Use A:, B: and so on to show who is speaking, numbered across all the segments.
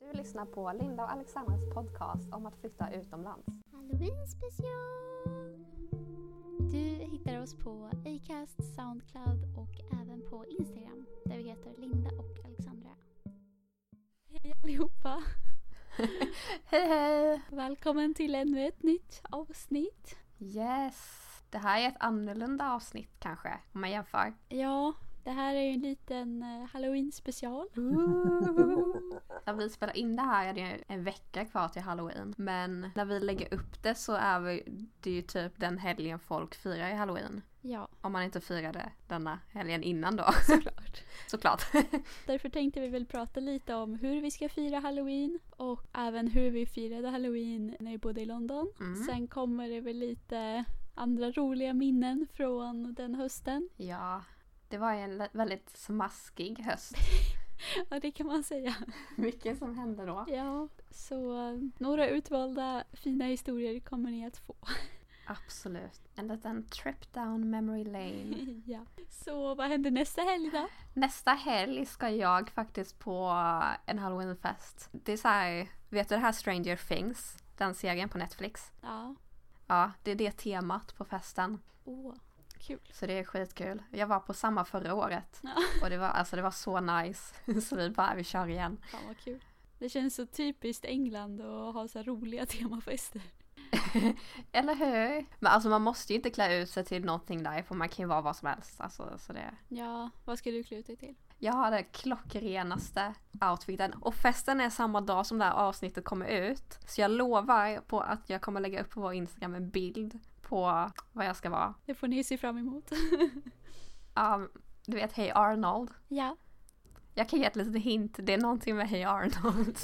A: Du lyssnar på Linda och Alexandras podcast om att flytta utomlands.
B: Halloween special! Du hittar oss på Acast, Soundcloud och även på Instagram där vi heter Linda och Alexandra. Hej allihopa!
A: Hej hej!
B: Välkommen till ännu ett nytt avsnitt.
A: Yes! Det här är ett annorlunda avsnitt kanske, om man jämför.
B: Ja, det här är ju en liten eh, halloween special.
A: När vi spelar in det här är det ju en vecka kvar till halloween. Men när vi lägger upp det så är vi- det ju typ den helgen folk firar i halloween.
B: Ja,
A: Om man inte firade denna helgen innan då,
B: såklart.
A: såklart.
B: Därför tänkte vi väl prata lite om hur vi ska fira halloween och även hur vi firade halloween när vi bodde i London.
A: Mm.
B: Sen kommer det väl lite andra roliga minnen från den hösten.
A: Ja, det var ju en le- väldigt smaskig höst.
B: Ja, det kan man säga.
A: Mycket som hände då.
B: Ja, så eh, några utvalda fina historier kommer ni att få.
A: Absolut. En liten trip down memory lane.
B: ja. Så vad händer nästa helg då?
A: Nästa helg ska jag faktiskt på en halloweenfest. Det är så här, vet du det här Stranger Things? Den serien på Netflix.
B: Ja,
A: Ja, det är det temat på festen.
B: åh, kul.
A: Så det är skitkul. Jag var på samma förra året.
B: Ja.
A: Och det var, alltså, det var så nice. Så vi bara, vi kör igen.
B: Fan vad kul. Det känns så typiskt England att ha så här roliga temafester.
A: Eller hur? Men alltså man måste ju inte klä ut sig till någonting där för man kan ju vara vad som helst. Alltså, så det...
B: Ja, vad ska du klä ut dig till?
A: Jag har den klockrenaste outfiten och festen är samma dag som det här avsnittet kommer ut. Så jag lovar på att jag kommer lägga upp på vår Instagram en bild på vad jag ska vara.
B: Det får ni se fram emot.
A: Um, du vet Hey Arnold.
B: ja.
A: Jag kan ge ett litet hint, det är någonting med Hey Arnold.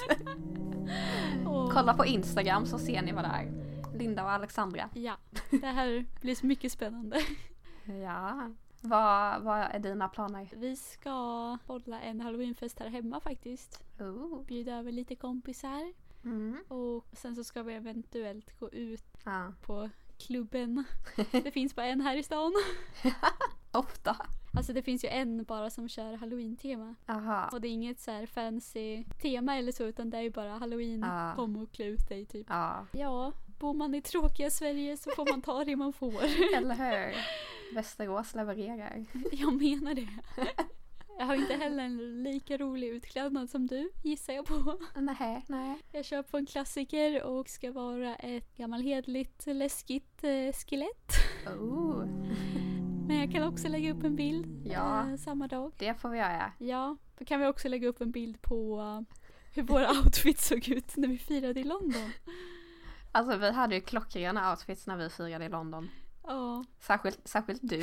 B: Och,
A: Kolla på Instagram så ser ni vad det är. Linda och Alexandra.
B: Ja, det här blir så mycket spännande.
A: Ja. Vad, vad är dina planer?
B: Vi ska hålla en halloweenfest här hemma faktiskt.
A: Ooh.
B: Bjuda över lite kompisar.
A: Mm.
B: Och sen så ska vi eventuellt gå ut
A: Ja.
B: på klubben. Det finns bara en här i stan.
A: Ofta.
B: Alltså det finns ju en bara som kör halloween-tema.
A: Aha.
B: Och det är inget så här fancy tema eller så utan det är ju bara halloween.
A: Ja.
B: Kom och klä ut dig typ.
A: Ja.
B: Ja, bor man i tråkiga Sverige så får man ta det man får.
A: Eller hur? Västerås levererar.
B: Jag menar det. Jag har inte heller en lika rolig utklädnad som du, gissar jag på.
A: Nej, nej.
B: Jag kör på en klassiker och ska vara ett gammal hederligt läskigt eh, skelett.
A: Oh,
B: Men jag kan också lägga upp en bild
A: Ja.
B: eh, samma dag.
A: det får vi göra.
B: Ja, då kan vi också lägga upp en bild på eh, hur våra outfits såg ut när vi firade i London.
A: Alltså vi hade ju klockrena outfits när vi firade i London.
B: Ja,
A: Särskilt, särskilt du.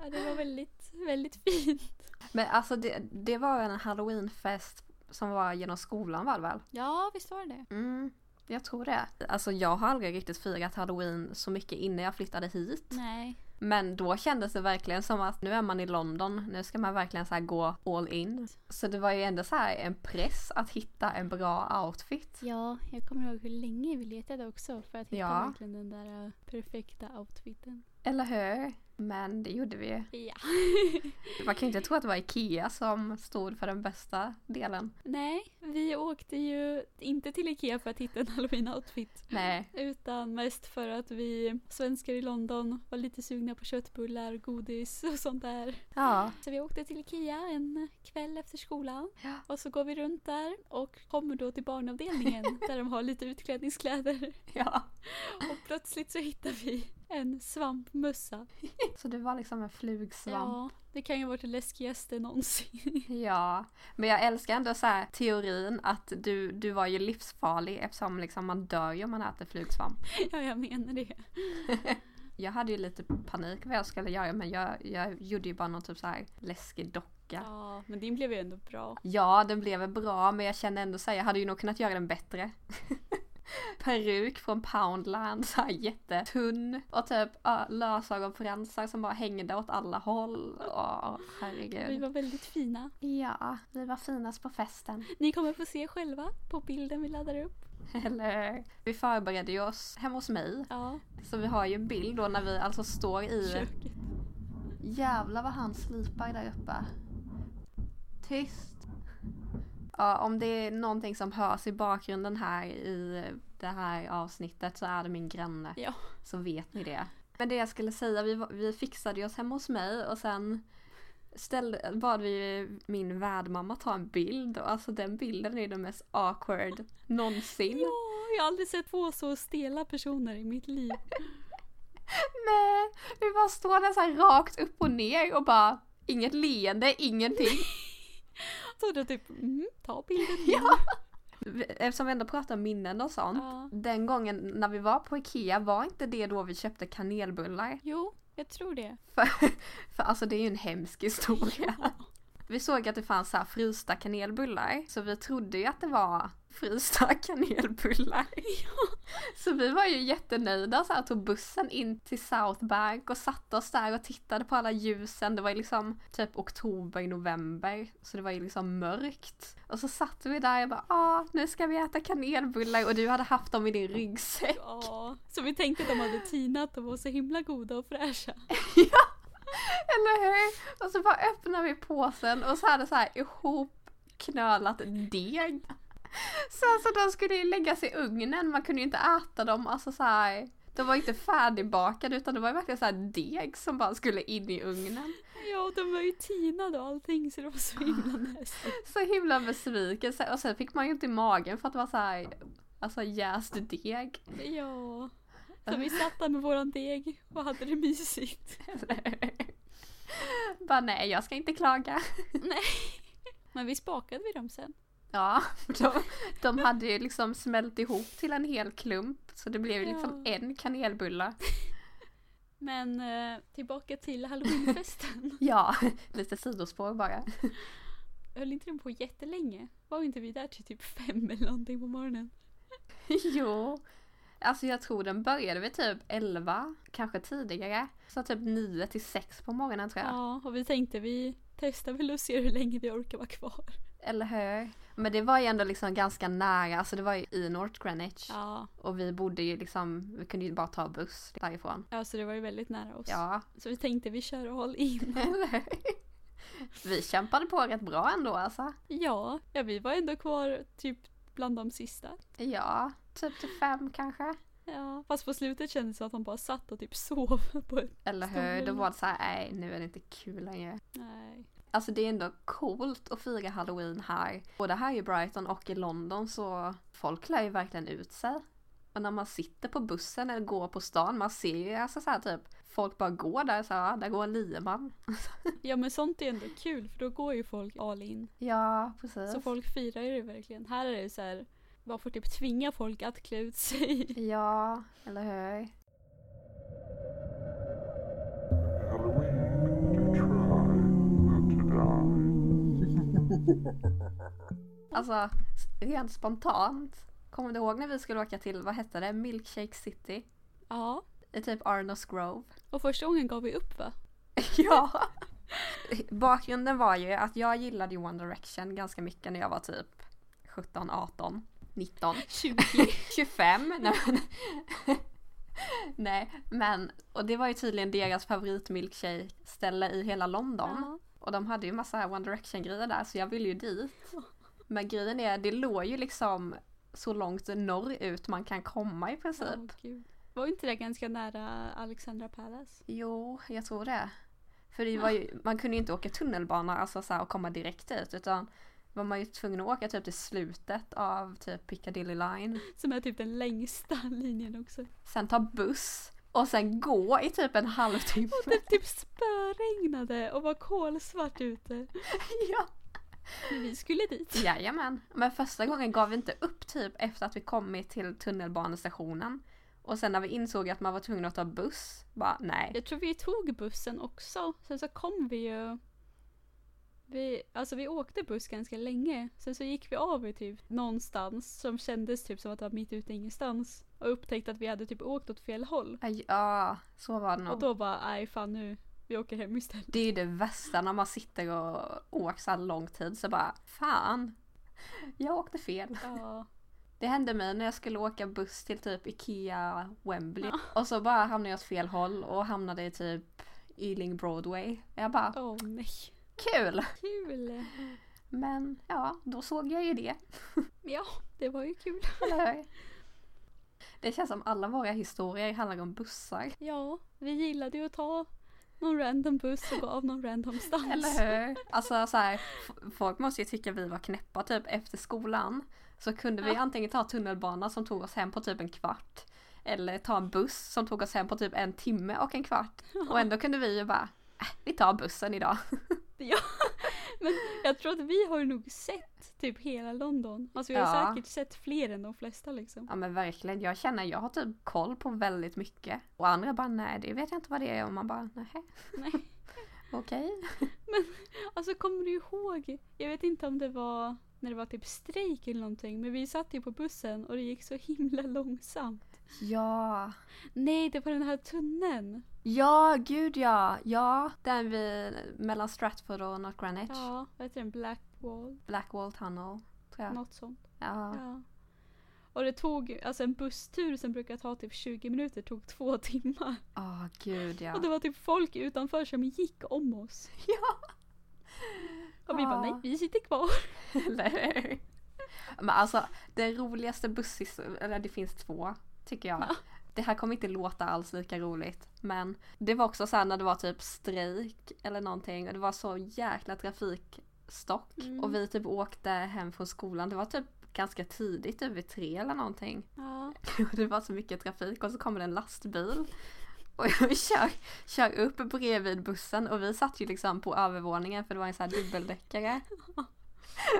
B: ja, det var väldigt, väldigt fint.
A: Men alltså det, det var en halloweenfest som var genom skolan var det väl?
B: Ja, visst var det
A: Mm, jag tror det. Alltså jag har aldrig riktigt firat halloween så mycket innan jag flyttade hit.
B: Nej.
A: Men då kändes det verkligen som att nu är man i London, nu ska man verkligen så här gå all in. Så det var ju ändå så här en press att hitta en bra outfit.
B: Ja, jag kommer ihåg hur länge vi letade också för att hitta
A: Ja.
B: verkligen den där eh, perfekta outfiten.
A: Eller hur? Men det gjorde vi ju.
B: Ja.
A: Man kan ju inte tro att det var Ikea som stod för den bästa delen.
B: Nej, vi åkte ju inte till Ikea för att hitta en halloween-outfit.
A: Nej.
B: Utan mest för att vi svenskar i London var lite sugna på köttbullar, godis och sånt där.
A: Ja.
B: Så vi åkte till Ikea en kväll efter skolan. Och så går vi runt där och kommer då till barnavdelningen där de har lite utklädningskläder.
A: ja.
B: Och plötsligt så hittar vi en svampmössa.
A: Så du var liksom en flugsvamp.
B: Ja, det kan ju ha varit det läskigaste någonsin.
A: Ja. Men jag älskar ändå så här teorin att du, du var ju livsfarlig eftersom liksom man dör ju om man äter flugsvamp.
B: ja, jag menar det.
A: Jag hade ju lite panik vad jag skulle göra men jag, jag gjorde ju bara någon typ så här läskig docka.
B: Ja, men din blev ju ändå bra.
A: Ja, den blev väl bra men jag kände ändå såhär, jag hade ju nog kunnat göra den bättre. Peruk från Poundland, såhär jättetunn. Och typ ja, lösögonfransar som bara hängde åt alla håll. Åh,
B: Vi
A: herregud.
B: var väldigt fina.
A: Ja, vi var finast på festen.
B: Ni kommer få se själva på bilden vi laddar upp.
A: Eller Vi förberedde ju oss hemma hos mig.
B: Ja,
A: Så vi har ju en bild då när vi alltså står i...
B: köket.
A: Jävlar vad han slipar där uppe. tyst. Ja, om det är någonting som hörs i bakgrunden här i det här avsnittet så är det min granne.
B: Ja.
A: Så vet ni det. Men det jag skulle säga, vi, var- vi fixade ju oss hemma hos mig och sen ställde, bad vi min värdmamma ta en bild och alltså den bilden är den mest awkward någonsin.
B: Ja, jag har aldrig sett två så stela personer i mitt liv.
A: Nej, vi bara står där så här rakt upp och ner och bara inget leende, ingenting.
B: Så då typ, mm, ta bilden.
A: Ja. Eftersom vi ändå pratar om minnen och sånt.
B: Ja.
A: Den gången när vi var på Ikea var inte det då vi köpte kanelbullar.
B: Jo, jag tror det.
A: För, för alltså det är ju en hemsk historia. Vi såg att det fanns så här frysta kanelbullar så vi trodde ju att det var frysta kanelbullar. Så vi var ju jättenöjda så här, tog bussen in till South Bank och satte oss där och tittade på alla ljusen. Det var ju liksom typ oktober, november så det var ju liksom mörkt. Och så satt vi där och bara ah, nu ska vi äta kanelbullar och du hade haft dem i din ryggsäck.
B: Ja. Så vi tänkte att de hade tinat och var så himla goda och fräscha.
A: Eller hur? Och så bara öppnar vi påsen och så hade så här ihopknölat deg. Sen så alltså, de skulle ju läggas i ugnen, man kunde ju inte äta dem. Alltså så här, de var inte färdigbakade utan det var ju verkligen så här deg som bara skulle in i ugnen.
B: Ja, och de var ju tinade och allting så det var så himla näsigt.
A: Så himla besvikelse. Och sen fick man ju inte i magen för att det var så här, alltså jäst deg.
B: Ja. Så vi satt där med våran deg och hade det mysigt.
A: bara nej, jag ska inte klaga.
B: Men vi spakade vi dem sen.
A: Ja, de, de hade ju liksom smält ihop till en hel klump så det blev ju liksom
B: Ja.
A: en kanelbulle.
B: Men eh, tillbaka till halloweenfesten.
A: Ja, lite sidospår bara.
B: Höll inte den på jättelänge? Var inte vi där till typ fem eller någonting på morgonen?
A: jo. Alltså jag tror den började vid typ 11, kanske tidigare. Så typ 9 till 6 på morgonen tror jag.
B: Ja, och vi tänkte vi testar väl och ser hur länge vi orkar vara kvar.
A: Eller hur? Men det var ju ändå liksom ganska nära, alltså det var ju i North Greenwich.
B: Ja,
A: Och vi bodde ju liksom, vi kunde ju bara ta buss därifrån.
B: alltså det var ju väldigt nära oss.
A: Ja,
B: Så vi tänkte vi kör all in.
A: eller hur? Vi kämpade på rätt bra ändå alltså.
B: Ja, ja vi var ändå kvar typ bland de sista.
A: Ja, typ till fem kanske.
B: Ja, fast på slutet kändes det som att de bara satt och typ sov på ett...
A: Eller hur? Då var det så här, nej nu är det inte kul längre.
B: Nej.
A: Alltså det är ändå coolt att fira halloween här. Både här i Brighton och i London så folk klär ju verkligen ut sig. Och när man sitter på bussen eller går på stan, man ser ju alltså så här typ folk bara går där så här, "Ah, där går en lieman.
B: Ja men sånt är ändå kul för då går ju folk all in.
A: Ja, precis.
B: Så folk firar ju det verkligen. Här är det ju så här, man får typ tvinga folk att klä ut sig.
A: Ja, eller hur?
C: Halloween, try not to die.
A: Alltså, rent spontant. Kommer du ihåg när vi skulle åka till, vad hette det, Milkshake City?
B: Ja.
A: I typ Arnos Grove.
B: Och första gången gav vi upp va?
A: Ja. Bakgrunden var ju att jag gillade ju One Direction ganska mycket när jag var typ 17, 18, 19,
B: 20.
A: 25. Nej, men, Nej, men och det var ju tydligen deras favoritmilkshake-ställe i hela London.
B: Ja.
A: Och de hade ju massa One Direction-grejer där så jag ville ju dit. Men grejen är, det låg ju liksom så långt norrut man kan komma i princip.
B: Åh, gud. Var inte det ganska nära Alexandra Palace?
A: Jo, jag tror det. För det var ju, man kunde ju inte åka tunnelbana alltså så här, och komma direkt dit utan var man ju tvungen att åka typ till slutet av typ Piccadilly line.
B: Som är typ den längsta linjen också.
A: Sen ta buss och sen gå i typ en halvtimme.
B: Det typ spöregnade och var kolsvart ute.
A: ja.
B: Men vi skulle dit.
A: Jajamän. Men första gången gav vi inte upp typ efter att vi kommit till tunnelbanestationen. Och sen när vi insåg att man var tvungen att ta buss, bara nej.
B: Jag tror vi tog bussen också. Sen så kom vi ju... Vi, alltså vi åkte buss ganska länge. Sen så gick vi av i typ någonstans som kändes typ som att det var mitt ute i ingenstans. Och upptäckte att vi hade typ åkt åt fel håll.
A: Aj, Ja, så var det nog.
B: Och då bara, nej fan nu, vi åker hem istället.
A: Det är ju det värsta när man sitter och åker så här lång tid så bara fan. Jag åkte fel.
B: Ja.
A: Det hände mig när jag skulle åka buss till typ Ikea Wembley och så bara hamnade jag åt fel håll och hamnade i typ Ealing Broadway. Jag bara
B: Åh nej.
A: kul!
B: Kul!
A: Men ja, då såg jag ju det.
B: Ja, det var ju kul.
A: Eller hur? Det känns som alla våra historier handlar om bussar.
B: Ja, vi gillade ju att ta någon random buss och gå av någon random stans.
A: Eller hur? Alltså så här, f- folk måste ju tycka vi var knäppa typ efter skolan. Så kunde vi
B: Ja.
A: antingen ta tunnelbana som tog oss hem på typ en kvart. Eller ta en buss som tog oss hem på typ en timme och en kvart. Och ändå kunde vi ju bara, äh, vi tar bussen idag.
B: Men jag tror att vi har nog sett typ hela London. Alltså vi har
A: Ja.
B: säkert sett fler än de flesta liksom.
A: Ja men verkligen, jag känner jag har typ koll på väldigt mycket. Och andra bara nej det vet jag inte vad det är och man bara nej.
B: Nej.
A: Okej.
B: Alltså kommer du ihåg? Jag vet inte om det var när det var typ strejk eller någonting. Men vi satt ju på bussen och det gick så himla långsamt.
A: Ja.
B: Nej, det var den här tunneln.
A: Ja gud ja. Ja, den vi mellan Stratford och North Greenwich.
B: Ja, vad heter den? Blackwall?
A: Blackwall Tunnel. Tror jag.
B: Något sånt.
A: Ja.
B: Ja. Och det tog, alltså en busstur som brukar ta typ 20 minuter tog två timmar.
A: Åh gud ja.
B: Och det var typ folk utanför som gick om oss.
A: Ja.
B: Och vi
A: Ja.
B: bara nej, vi sitter kvar.
A: Eller hur? Men alltså den roligaste busshistorien, eller det finns två tycker jag. Det här kommer inte låta alls lika roligt men det var också så här när det var typ strejk eller någonting och det var så jäkla trafikstock
B: Mm.
A: och vi typ åkte hem från skolan, det var typ ganska tidigt, typ vid tre eller någonting.
B: Ja.
A: Och det var så mycket trafik och så kommer det en lastbil. Och jag kör, kör upp bredvid bussen och vi satt ju liksom på övervåningen för det var en sån här dubbeldäckare.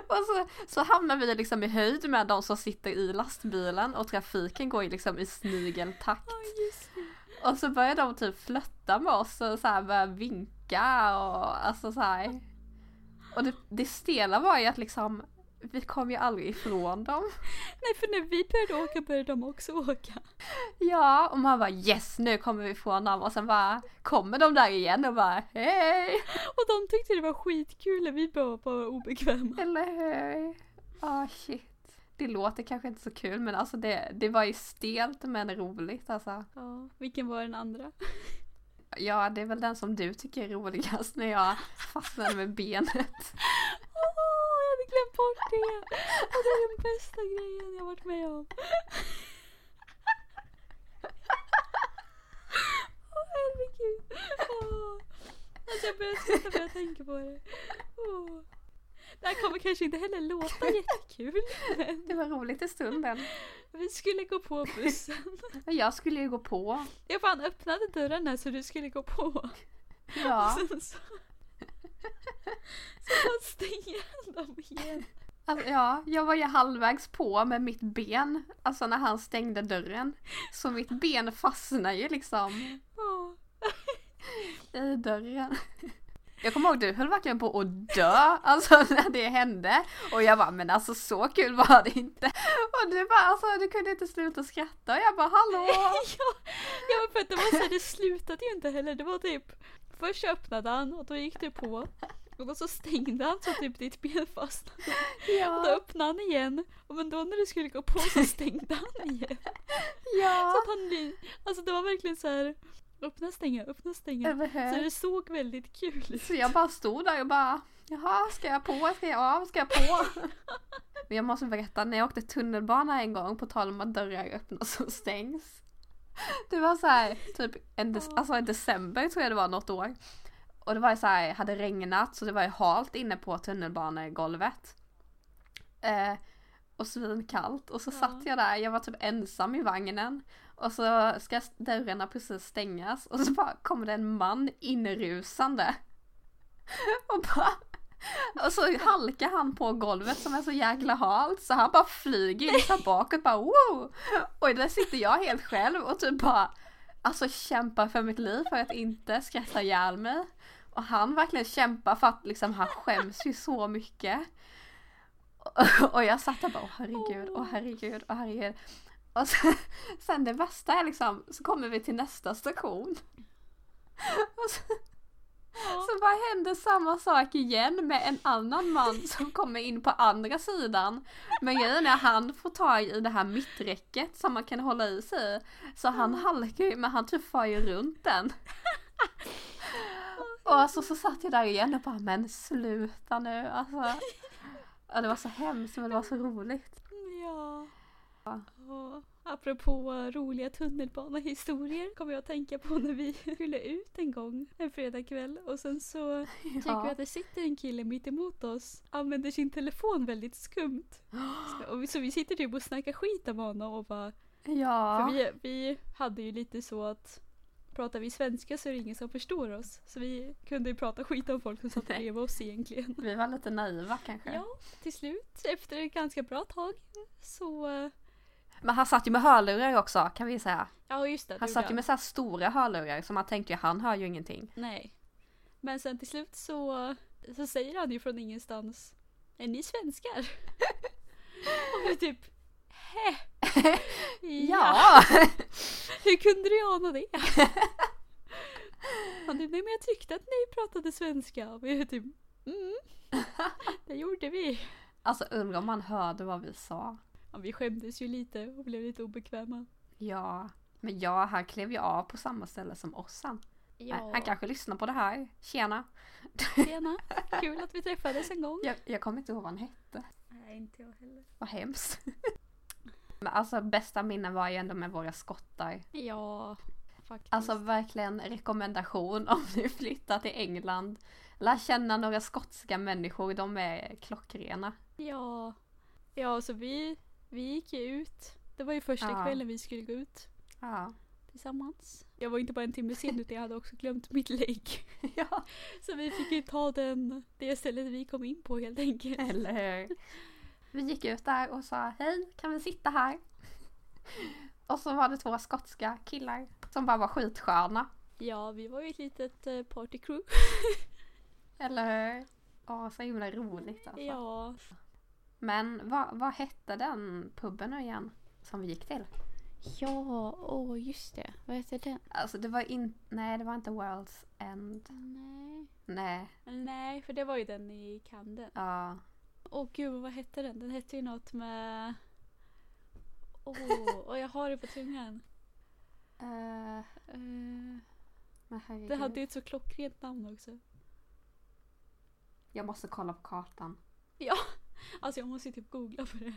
A: Och så, så hamnar vi liksom i höjd med de som sitter i lastbilen och trafiken går ju liksom i snigeltakt.
B: Ja, just det.
A: Och så börjar de typ flötta med oss och så här börjar vinka och alltså så här. Och det, det stela var ju att liksom vi kom ju aldrig ifrån dem.
B: Nej, för när vi började åka började de också åka.
A: Ja, och man bara yes nu kommer vi ifrån dem och sen bara kommer de där igen och bara hej!
B: Och de tyckte det var skitkul när vi bara var obekväma.
A: Eller hur? Ah shit. Det låter kanske inte så kul men alltså det, det var ju stelt men roligt alltså.
B: Ja, vilken var den andra?
A: Ja, det är väl den som du tycker är roligast när jag fastnade med benet.
B: Åh, jag hade glömt bort det! Och det är den bästa grejen jag varit med om. Åh, herregud. Åh. Alltså jag börjar skratta när jag tänker på det. Åh. Det här kommer kanske inte heller låta jättekul. Men
A: Det var roligt i stunden.
B: vi skulle gå på bussen.
A: Men jag skulle ju gå på.
B: Jag fan öppnade dörren här så du skulle gå på.
A: Ja,
B: Sen så... Så bara stängde jag dem igen.
A: alltså, ja, jag var ju halvvägs på med mitt ben, alltså när han stängde dörren. Så mitt ben fastnade ju liksom
B: Åh.
A: i dörren. Jag kommer ihåg du höll verkligen på att dö alltså när det hände och jag bara men alltså så kul var det inte. Och du bara alltså du kunde inte sluta skratta och jag bara hallå!
B: ja, ja men för att det var så här, det slutade ju inte heller. Det var typ, först öppnade han och då gick du på. Och då så stängde han så typ ditt ben fastnade. Då
A: Ja,
B: öppnade han igen. Och men då när du skulle gå på så stängde han igen. Så
A: ja,
B: att han, li- alltså det var verkligen så här. öppna stänga, öppna stänga.
A: eller
B: Så
A: hur?
B: det såg väldigt kul ut.
A: eh. Så jag bara stod där och bara jaha ska jag på, ska jag av, ska jag på? Men jag måste berätta när jag åkte tunnelbana en gång på tal om att dörrar öppnas och stängs. Det var så här, typ en, dec- alltså en december tror jag det var något år. Och det var ju så här, hade regnat så det var ju halt inne på tunnelbanegolvet. Eh, och svinkallt och så
B: Ja.
A: satt jag där, jag var typ ensam i vagnen. Och så ska s- dörrarna precis stängas och så bara kommer det en man inrusande. Och bara och så halkar han på golvet som är så jäkla halt så han bara flyger in så här bakåt bara wow! Och där sitter jag helt själv och typ bara alltså kämpar för mitt liv för att inte skratta ihjäl mig. Och han verkligen kämpar för att liksom han skäms ju så mycket. Och- Och jag satt där bara åh herregud, åh herregud, åh herregud. Och sen, sen det värsta är liksom så kommer vi till nästa station. Och så,
B: Ja.
A: så bara hände samma sak igen med en annan man som kommer in på andra sidan. Men grejen är att han får tag i det här mitträcket som man kan hålla i sig i. Så han halkar ju, men han typ far ju runt den. Och alltså så satt jag där igen och bara men sluta nu alltså. Ja, det var så hemskt men det var så roligt.
B: Ja.
A: Ja.
B: Och apropå roliga tunnelbanehistorier kommer jag att tänka på när vi skulle ut en gång en fredagkväll och sen så tycker vi
A: Ja.
B: att det sitter en kille mitt emot oss använder sin telefon väldigt skumt. Så- Och vi, så vi sitter typ och snackar skit om honom och bara
A: Ja.
B: För vi, vi hade ju lite så att pratar vi svenska så är det ingen som förstår oss. Så vi kunde ju prata skit om folk som satt
A: Nej.
B: bredvid oss egentligen.
A: Vi var lite naiva kanske.
B: Ja, till slut efter ett ganska bra tag så... eh,
A: Men han satt ju med hörlurar också kan vi säga.
B: Ja just det, det
A: Han
B: gjorde
A: satt ju med så här stora hörlurar så man tänkte ju han hör ju ingenting.
B: Nej. Men sen till slut så, så säger han ju från ingenstans Är ni svenskar? och vi typ Hä? Hur kunde du ana det? Han typ, nej men jag tyckte att ni pratade svenska. Och vi typ, mm. Det gjorde vi.
A: Alltså undrar om han hörde vad vi sa.
B: Ja, vi skämdes ju lite och blev lite obekväma.
A: Ja. Men ja, han klev ju av på samma ställe som oss han. Nej, Han kanske lyssnar på det här. Tjena.
B: Äh, Tjena, kul att vi träffades en gång.
A: Jag, jag kommer inte ihåg vad han hette.
B: Nej, inte jag heller.
A: Vad hemskt. Men alltså bästa minnen var ju ändå med våra skottar.
B: Ja, faktiskt.
A: Alltså verkligen rekommendation om ni flyttar till England. Lär känna några skotska människor, de är klockrena.
B: Ja. Ja, så vi, vi gick ju ut. Det var ju första
A: Ja.
B: kvällen vi skulle gå ut
A: Ja.
B: tillsammans. Jag var inte bara en timme sen utan jag hade också glömt mitt lägg.
A: ja.
B: Så vi fick ju ta den, det stället vi kom in på helt enkelt.
A: Eller hur? Vi gick ut där och sa hej, kan vi sitta här? Och så var det två skotska killar som bara var skitsköna.
B: Ja, vi var ju ett litet eh, partycrew.
A: Eller hur? Ja, så himla roligt alltså.
B: Ja,
A: Men vad, vad hette den puben nu igen? Som vi gick till?
B: ja åh just det. Vad heter den?
A: Alltså det var inte, nej det var inte World's End.
B: Nej.
A: Nej,
B: Nej, för det var ju den i Camden.
A: ja.
B: Åh gud, vad hette den? Den hette ju något med... Åh, och jag har det på tungan.
A: Uh,
B: Eh,
A: men herregud.
B: det hade ju ett så klockrent namn också.
A: Jag måste kolla på kartan.
B: Alltså jag måste ju typ googla på det.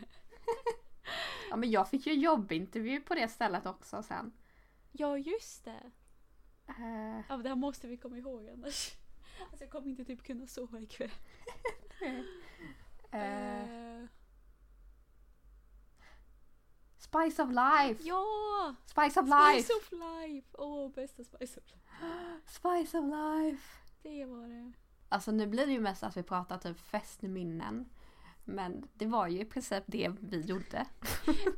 A: Ja men jag fick ju jobbintervju på det stället också sen.
B: Ja, just det.
A: Eh,
B: Ja, men det här måste vi komma ihåg annars. Alltså jag kommer inte typ kunna sova ikväll.
A: eh,
B: Eh,
A: Spice of life!
B: ja!
A: Spice of life!
B: Spice of life! Åh, bästa Spice of life.
A: Spice of life!
B: Det var det.
A: Alltså nu blir det ju mest att vi pratar typ festminnen. Men det var ju i princip det vi gjorde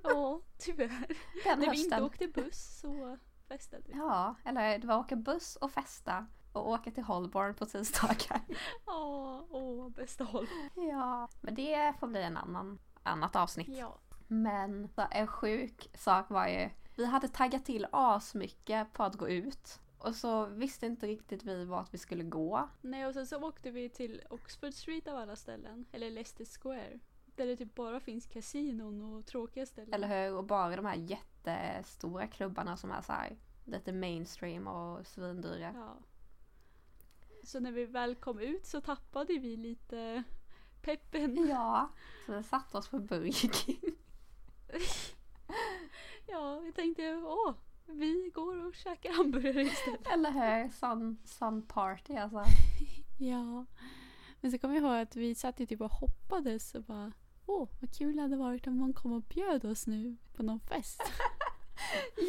B: Ja, tyvärr.
A: den
B: När vi inte
A: hösten.
B: åkte buss så festade vi.
A: Ja, eller det var åka buss och festa och åka till Holborn på tisdagar.
B: Ja, åh, bästa håll.
A: ja, men det får bli en annan annat avsnitt.
B: Ja.
A: Men så en sjuk sak var ju, vi hade taggat till asmycket på att gå ut. Och så visste inte riktigt vi vart vi skulle gå.
B: Nej, och sen så åkte vi till Oxford Street av alla ställen. Eller Leicester Square. Där det typ bara finns kasinon och tråkiga ställen.
A: Eller hur? Och bara de här jättestora klubbarna som är så här lite mainstream och svindyra.
B: Ja. Så när vi väl kom ut så tappade vi lite peppen.
A: Ja, så vi satte oss på Burger King.
B: Ja, vi tänkte åh, vi går och käkar hamburgare istället.
A: Eller hur? Sån, sån party alltså.
B: Ja. Men så kommer jag ihåg att vi satt ju typ och hoppades och bara åh, vad kul det hade varit om någon kom och bjöd oss nu på någon fest.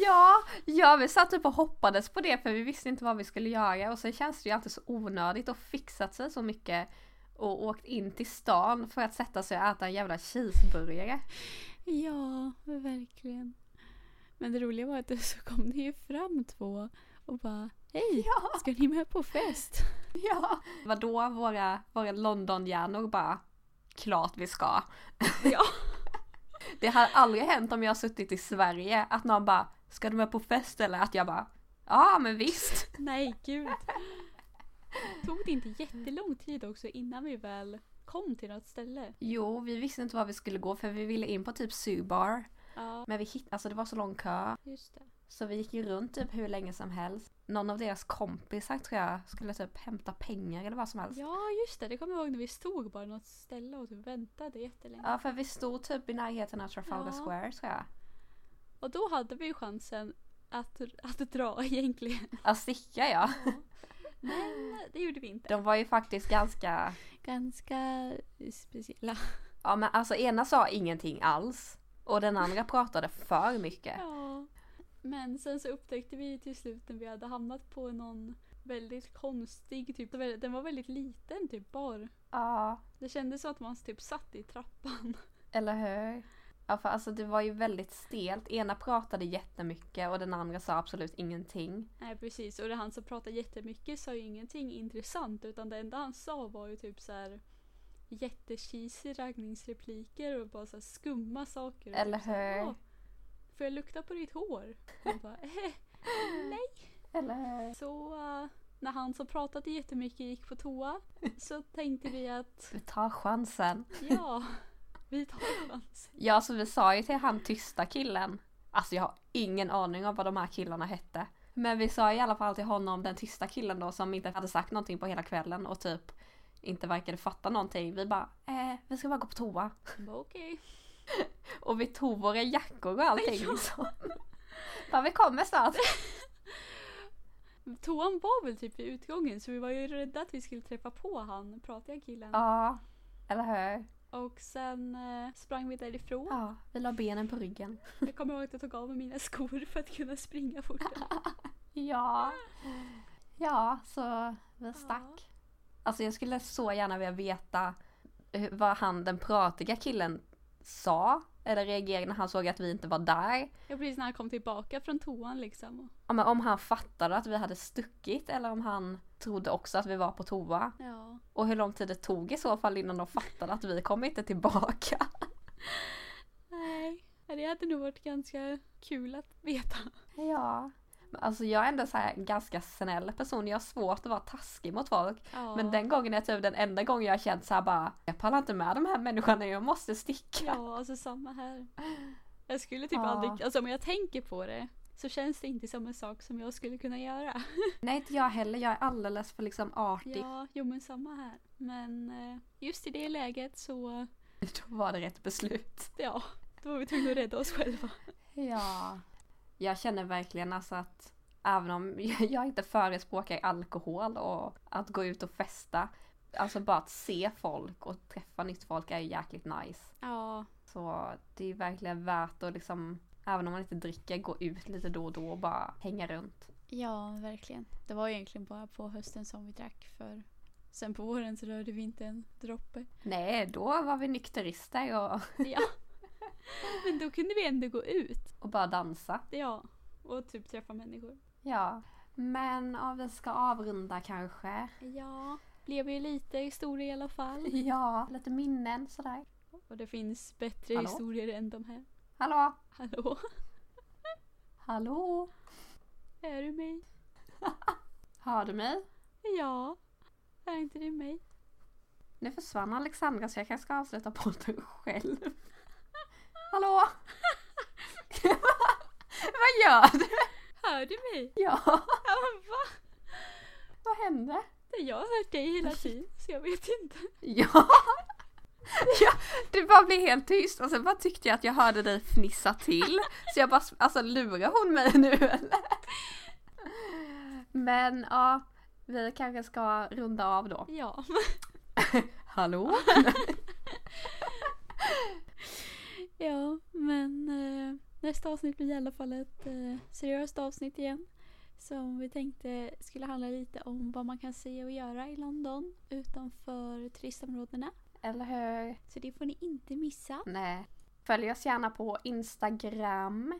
A: Ja, ja vi satt typ och hoppades på det för vi visste inte vad vi skulle göra och sen känns det ju alltid så onödigt och fixat sig så mycket och åkt in till stan för att sätta sig och äta en jävla cheeseburgare.
B: Ja, verkligen. Men det roliga var att så kom det ju fram två och bara Hej!
A: Ja,
B: Ska ni med på fest?
A: ja. Vadå våra, våra Londonhjärnor bara klart vi ska.
B: Ja.
A: Det hade aldrig hänt om jag suttit i Sverige att någon bara ska du med på fest eller att jag bara ja men visst.
B: Nej, gud. Tog det inte jättelång tid också innan vi väl kom till något ställe?
A: Jo, vi visste inte var vi skulle gå för vi ville in på typ Subar
B: Ja,
A: men vi hittade, alltså det var så lång kö
B: just det.
A: Så vi gick ju runt typ hur länge som helst. Någon av deras kompisar tror jag skulle typ hämta pengar eller vad som helst.
B: Ja just det, det kommer jag ihåg när vi stod bara något ställe och typ väntade jättelänge.
A: Ja, för vi stod typ i närheten av Trafalgar
B: Ja.
A: Square tror jag.
B: Och då hade vi ju chansen att, att dra egentligen.
A: Ja, sticka ja.
B: Men eh, det gjorde vi inte.
A: De var ju faktiskt ganska...
B: Ganska speciella.
A: Ja men alltså ena sa ingenting alls. Och den andra pratade för mycket.
B: Ja. Men sen så upptäckte vi till slut när vi hade hamnat på någon väldigt konstig typ. Den var väldigt liten typ bar.
A: Ja,
B: Det kändes som att man typ satt i trappan.
A: eller hur? Ja för alltså det var ju väldigt stelt. Ena pratade jättemycket och den andra sa absolut ingenting.
B: Nej precis, och det han som pratade jättemycket sa ju ingenting intressant utan det enda han sa var ju typ så här jättecheesy raggningsrepliker och bara så här skumma saker. Och
A: Eller
B: typ så här,
A: hur?
B: "Åh, Får jag lukta på ditt hår? Och bara, "Eh."
A: Eller hur?
B: så eh, när han som pratade jättemycket gick på toa så tänkte vi att
A: Vi tar chansen.
B: ja, vi tar chansen.
A: Ja så vi sa ju till han tysta killen. Alltså jag har ingen aning om vad de här killarna hette. Men vi sa i alla fall till honom, den tysta killen då som inte hade sagt någonting på hela kvällen och typ inte verkade fatta någonting. Vi bara, eh, vi ska bara gå på toa.
B: Han bara, Okej.
A: Och vi tog våra jackor och allting liksom. Bara, vi kommer snart.
B: Toan var väl typ i utgången så vi var ju rädda att vi skulle träffa på han, pratiga killen.
A: Ja, eller hur?
B: Och sen eh, sprang vi därifrån.
A: Ja, vi la benen på ryggen.
B: Jag kommer ihåg att jag tog av mig mina skor för att kunna springa fortare.
A: Ja. Ja, så vi stack. Alltså jag skulle så gärna vilja veta hur- vad han den pratiga killen sa eller reagerade när han såg att vi inte var där.
B: Jag precis när han kom tillbaka från toan liksom. och-
A: Ja, men Om han fattade att vi hade stuckit eller om han trodde också att vi var på toa.
B: Ja.
A: Och hur lång tid det tog i så fall innan de fattade att vi kom inte tillbaka.
B: Nej. Ja, Det hade nog varit ganska kul att veta.
A: Ja. Men Alltså jag är ändå så här en ganska snäll person. Jag har svårt att vara taskig mot folk.
B: Ja.
A: Men den gången är typ den enda gången jag har känt så här bara Jag pallar inte med de här människorna, jag måste sticka.
B: Ja, alltså samma här. Jag skulle typ
A: Ja.
B: aldrig, alltså om jag tänker på det så känns det inte som en sak som jag skulle kunna göra.
A: Nej inte jag heller, jag är alldeles för liksom artig.
B: Ja, jo men samma här. Men eh, just i det läget så,
A: Då var det rätt beslut.
B: ja, då var vi tvungna att rädda oss själva.
A: Ja. Jag känner verkligen alltså att även om jag inte förespråkar alkohol och att gå ut och festa. Alltså bara att se folk och träffa nytt folk är ju jäkligt nice.
B: Ja,
A: Så det är verkligen värt att liksom, även om man inte dricker, gå ut lite då och då och bara hänga runt.
B: Ja, verkligen. Det var egentligen bara på hösten som vi drack för sen på våren så rörde vi inte en droppe.
A: Nej, då var vi nykterister och,
B: Ja. Men då kunde vi ändå gå ut.
A: och bara dansa.
B: Ja. Och typ träffa människor.
A: Ja. Men om vi ska avrunda kanske.
B: Ja. Blev ju lite historia i alla fall.
A: Ja, lite minnen sådär.
B: Och det finns bättre
A: Hallå?
B: historier än de här.
A: Hallå?
B: Hallå?
A: Hallå?
B: Är du mig?
A: Hör du mig?
B: Ja. Är inte du mig?
A: Nu försvann Alexandra så jag kanske ska avsluta podden själv. Hallå? Vad gör du?
B: Hör du mig?
A: Ja,
B: Ja, men va?
A: vad hände?
B: Jag har hört dig hela tiden så jag vet inte.
A: Ja. ja! Du bara blev helt tyst och sen bara tyckte jag att jag hörde dig fnissa till. Så jag bara, alltså lurar hon mig nu eller? Men ja, vi kanske ska runda av då.
B: Ja.
A: Hallå?
B: Ja, men eh, nästa avsnitt blir i alla fall ett eh, seriöst avsnitt igen. Som vi tänkte skulle handla lite om vad man kan se och göra i London utanför turistområdena.
A: Eller hur?
B: Så det får ni inte missa.
A: Nej. Följ oss gärna på Instagram,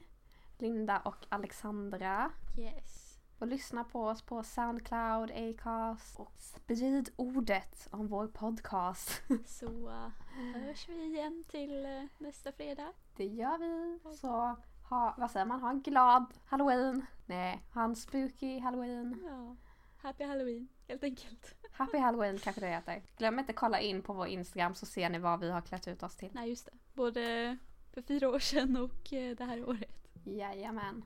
A: Linda och Alexandra.
B: Yes.
A: Och lyssna på oss på Soundcloud, Acast och sprid ordet om vår podcast.
B: Så eh, hörs vi igen till eh, nästa fredag.
A: Det gör vi. Så ha, vad säger man, ha en glad halloween. Nej, ha en spooky halloween.
B: Ja. Happy Halloween, helt enkelt.
A: Happy halloween kanske det heter. Glöm inte kolla in på vår Instagram så ser ni vad vi har klätt ut oss till.
B: Nej, just det. Både för fyra år sedan och eh, det här året.
A: Jajamän.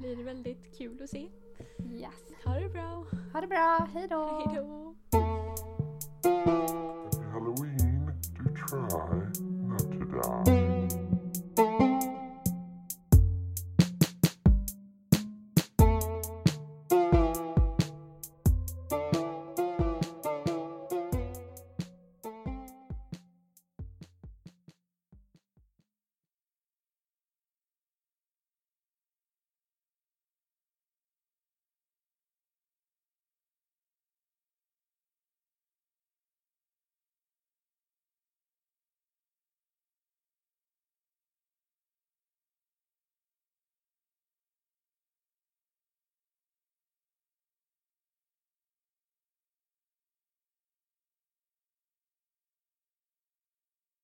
B: blir väldigt kul att se.
A: Yes.
B: Ha det bra!
A: Ha det bra, hejdå!
B: Hej då!
C: Halloween, do try not to die.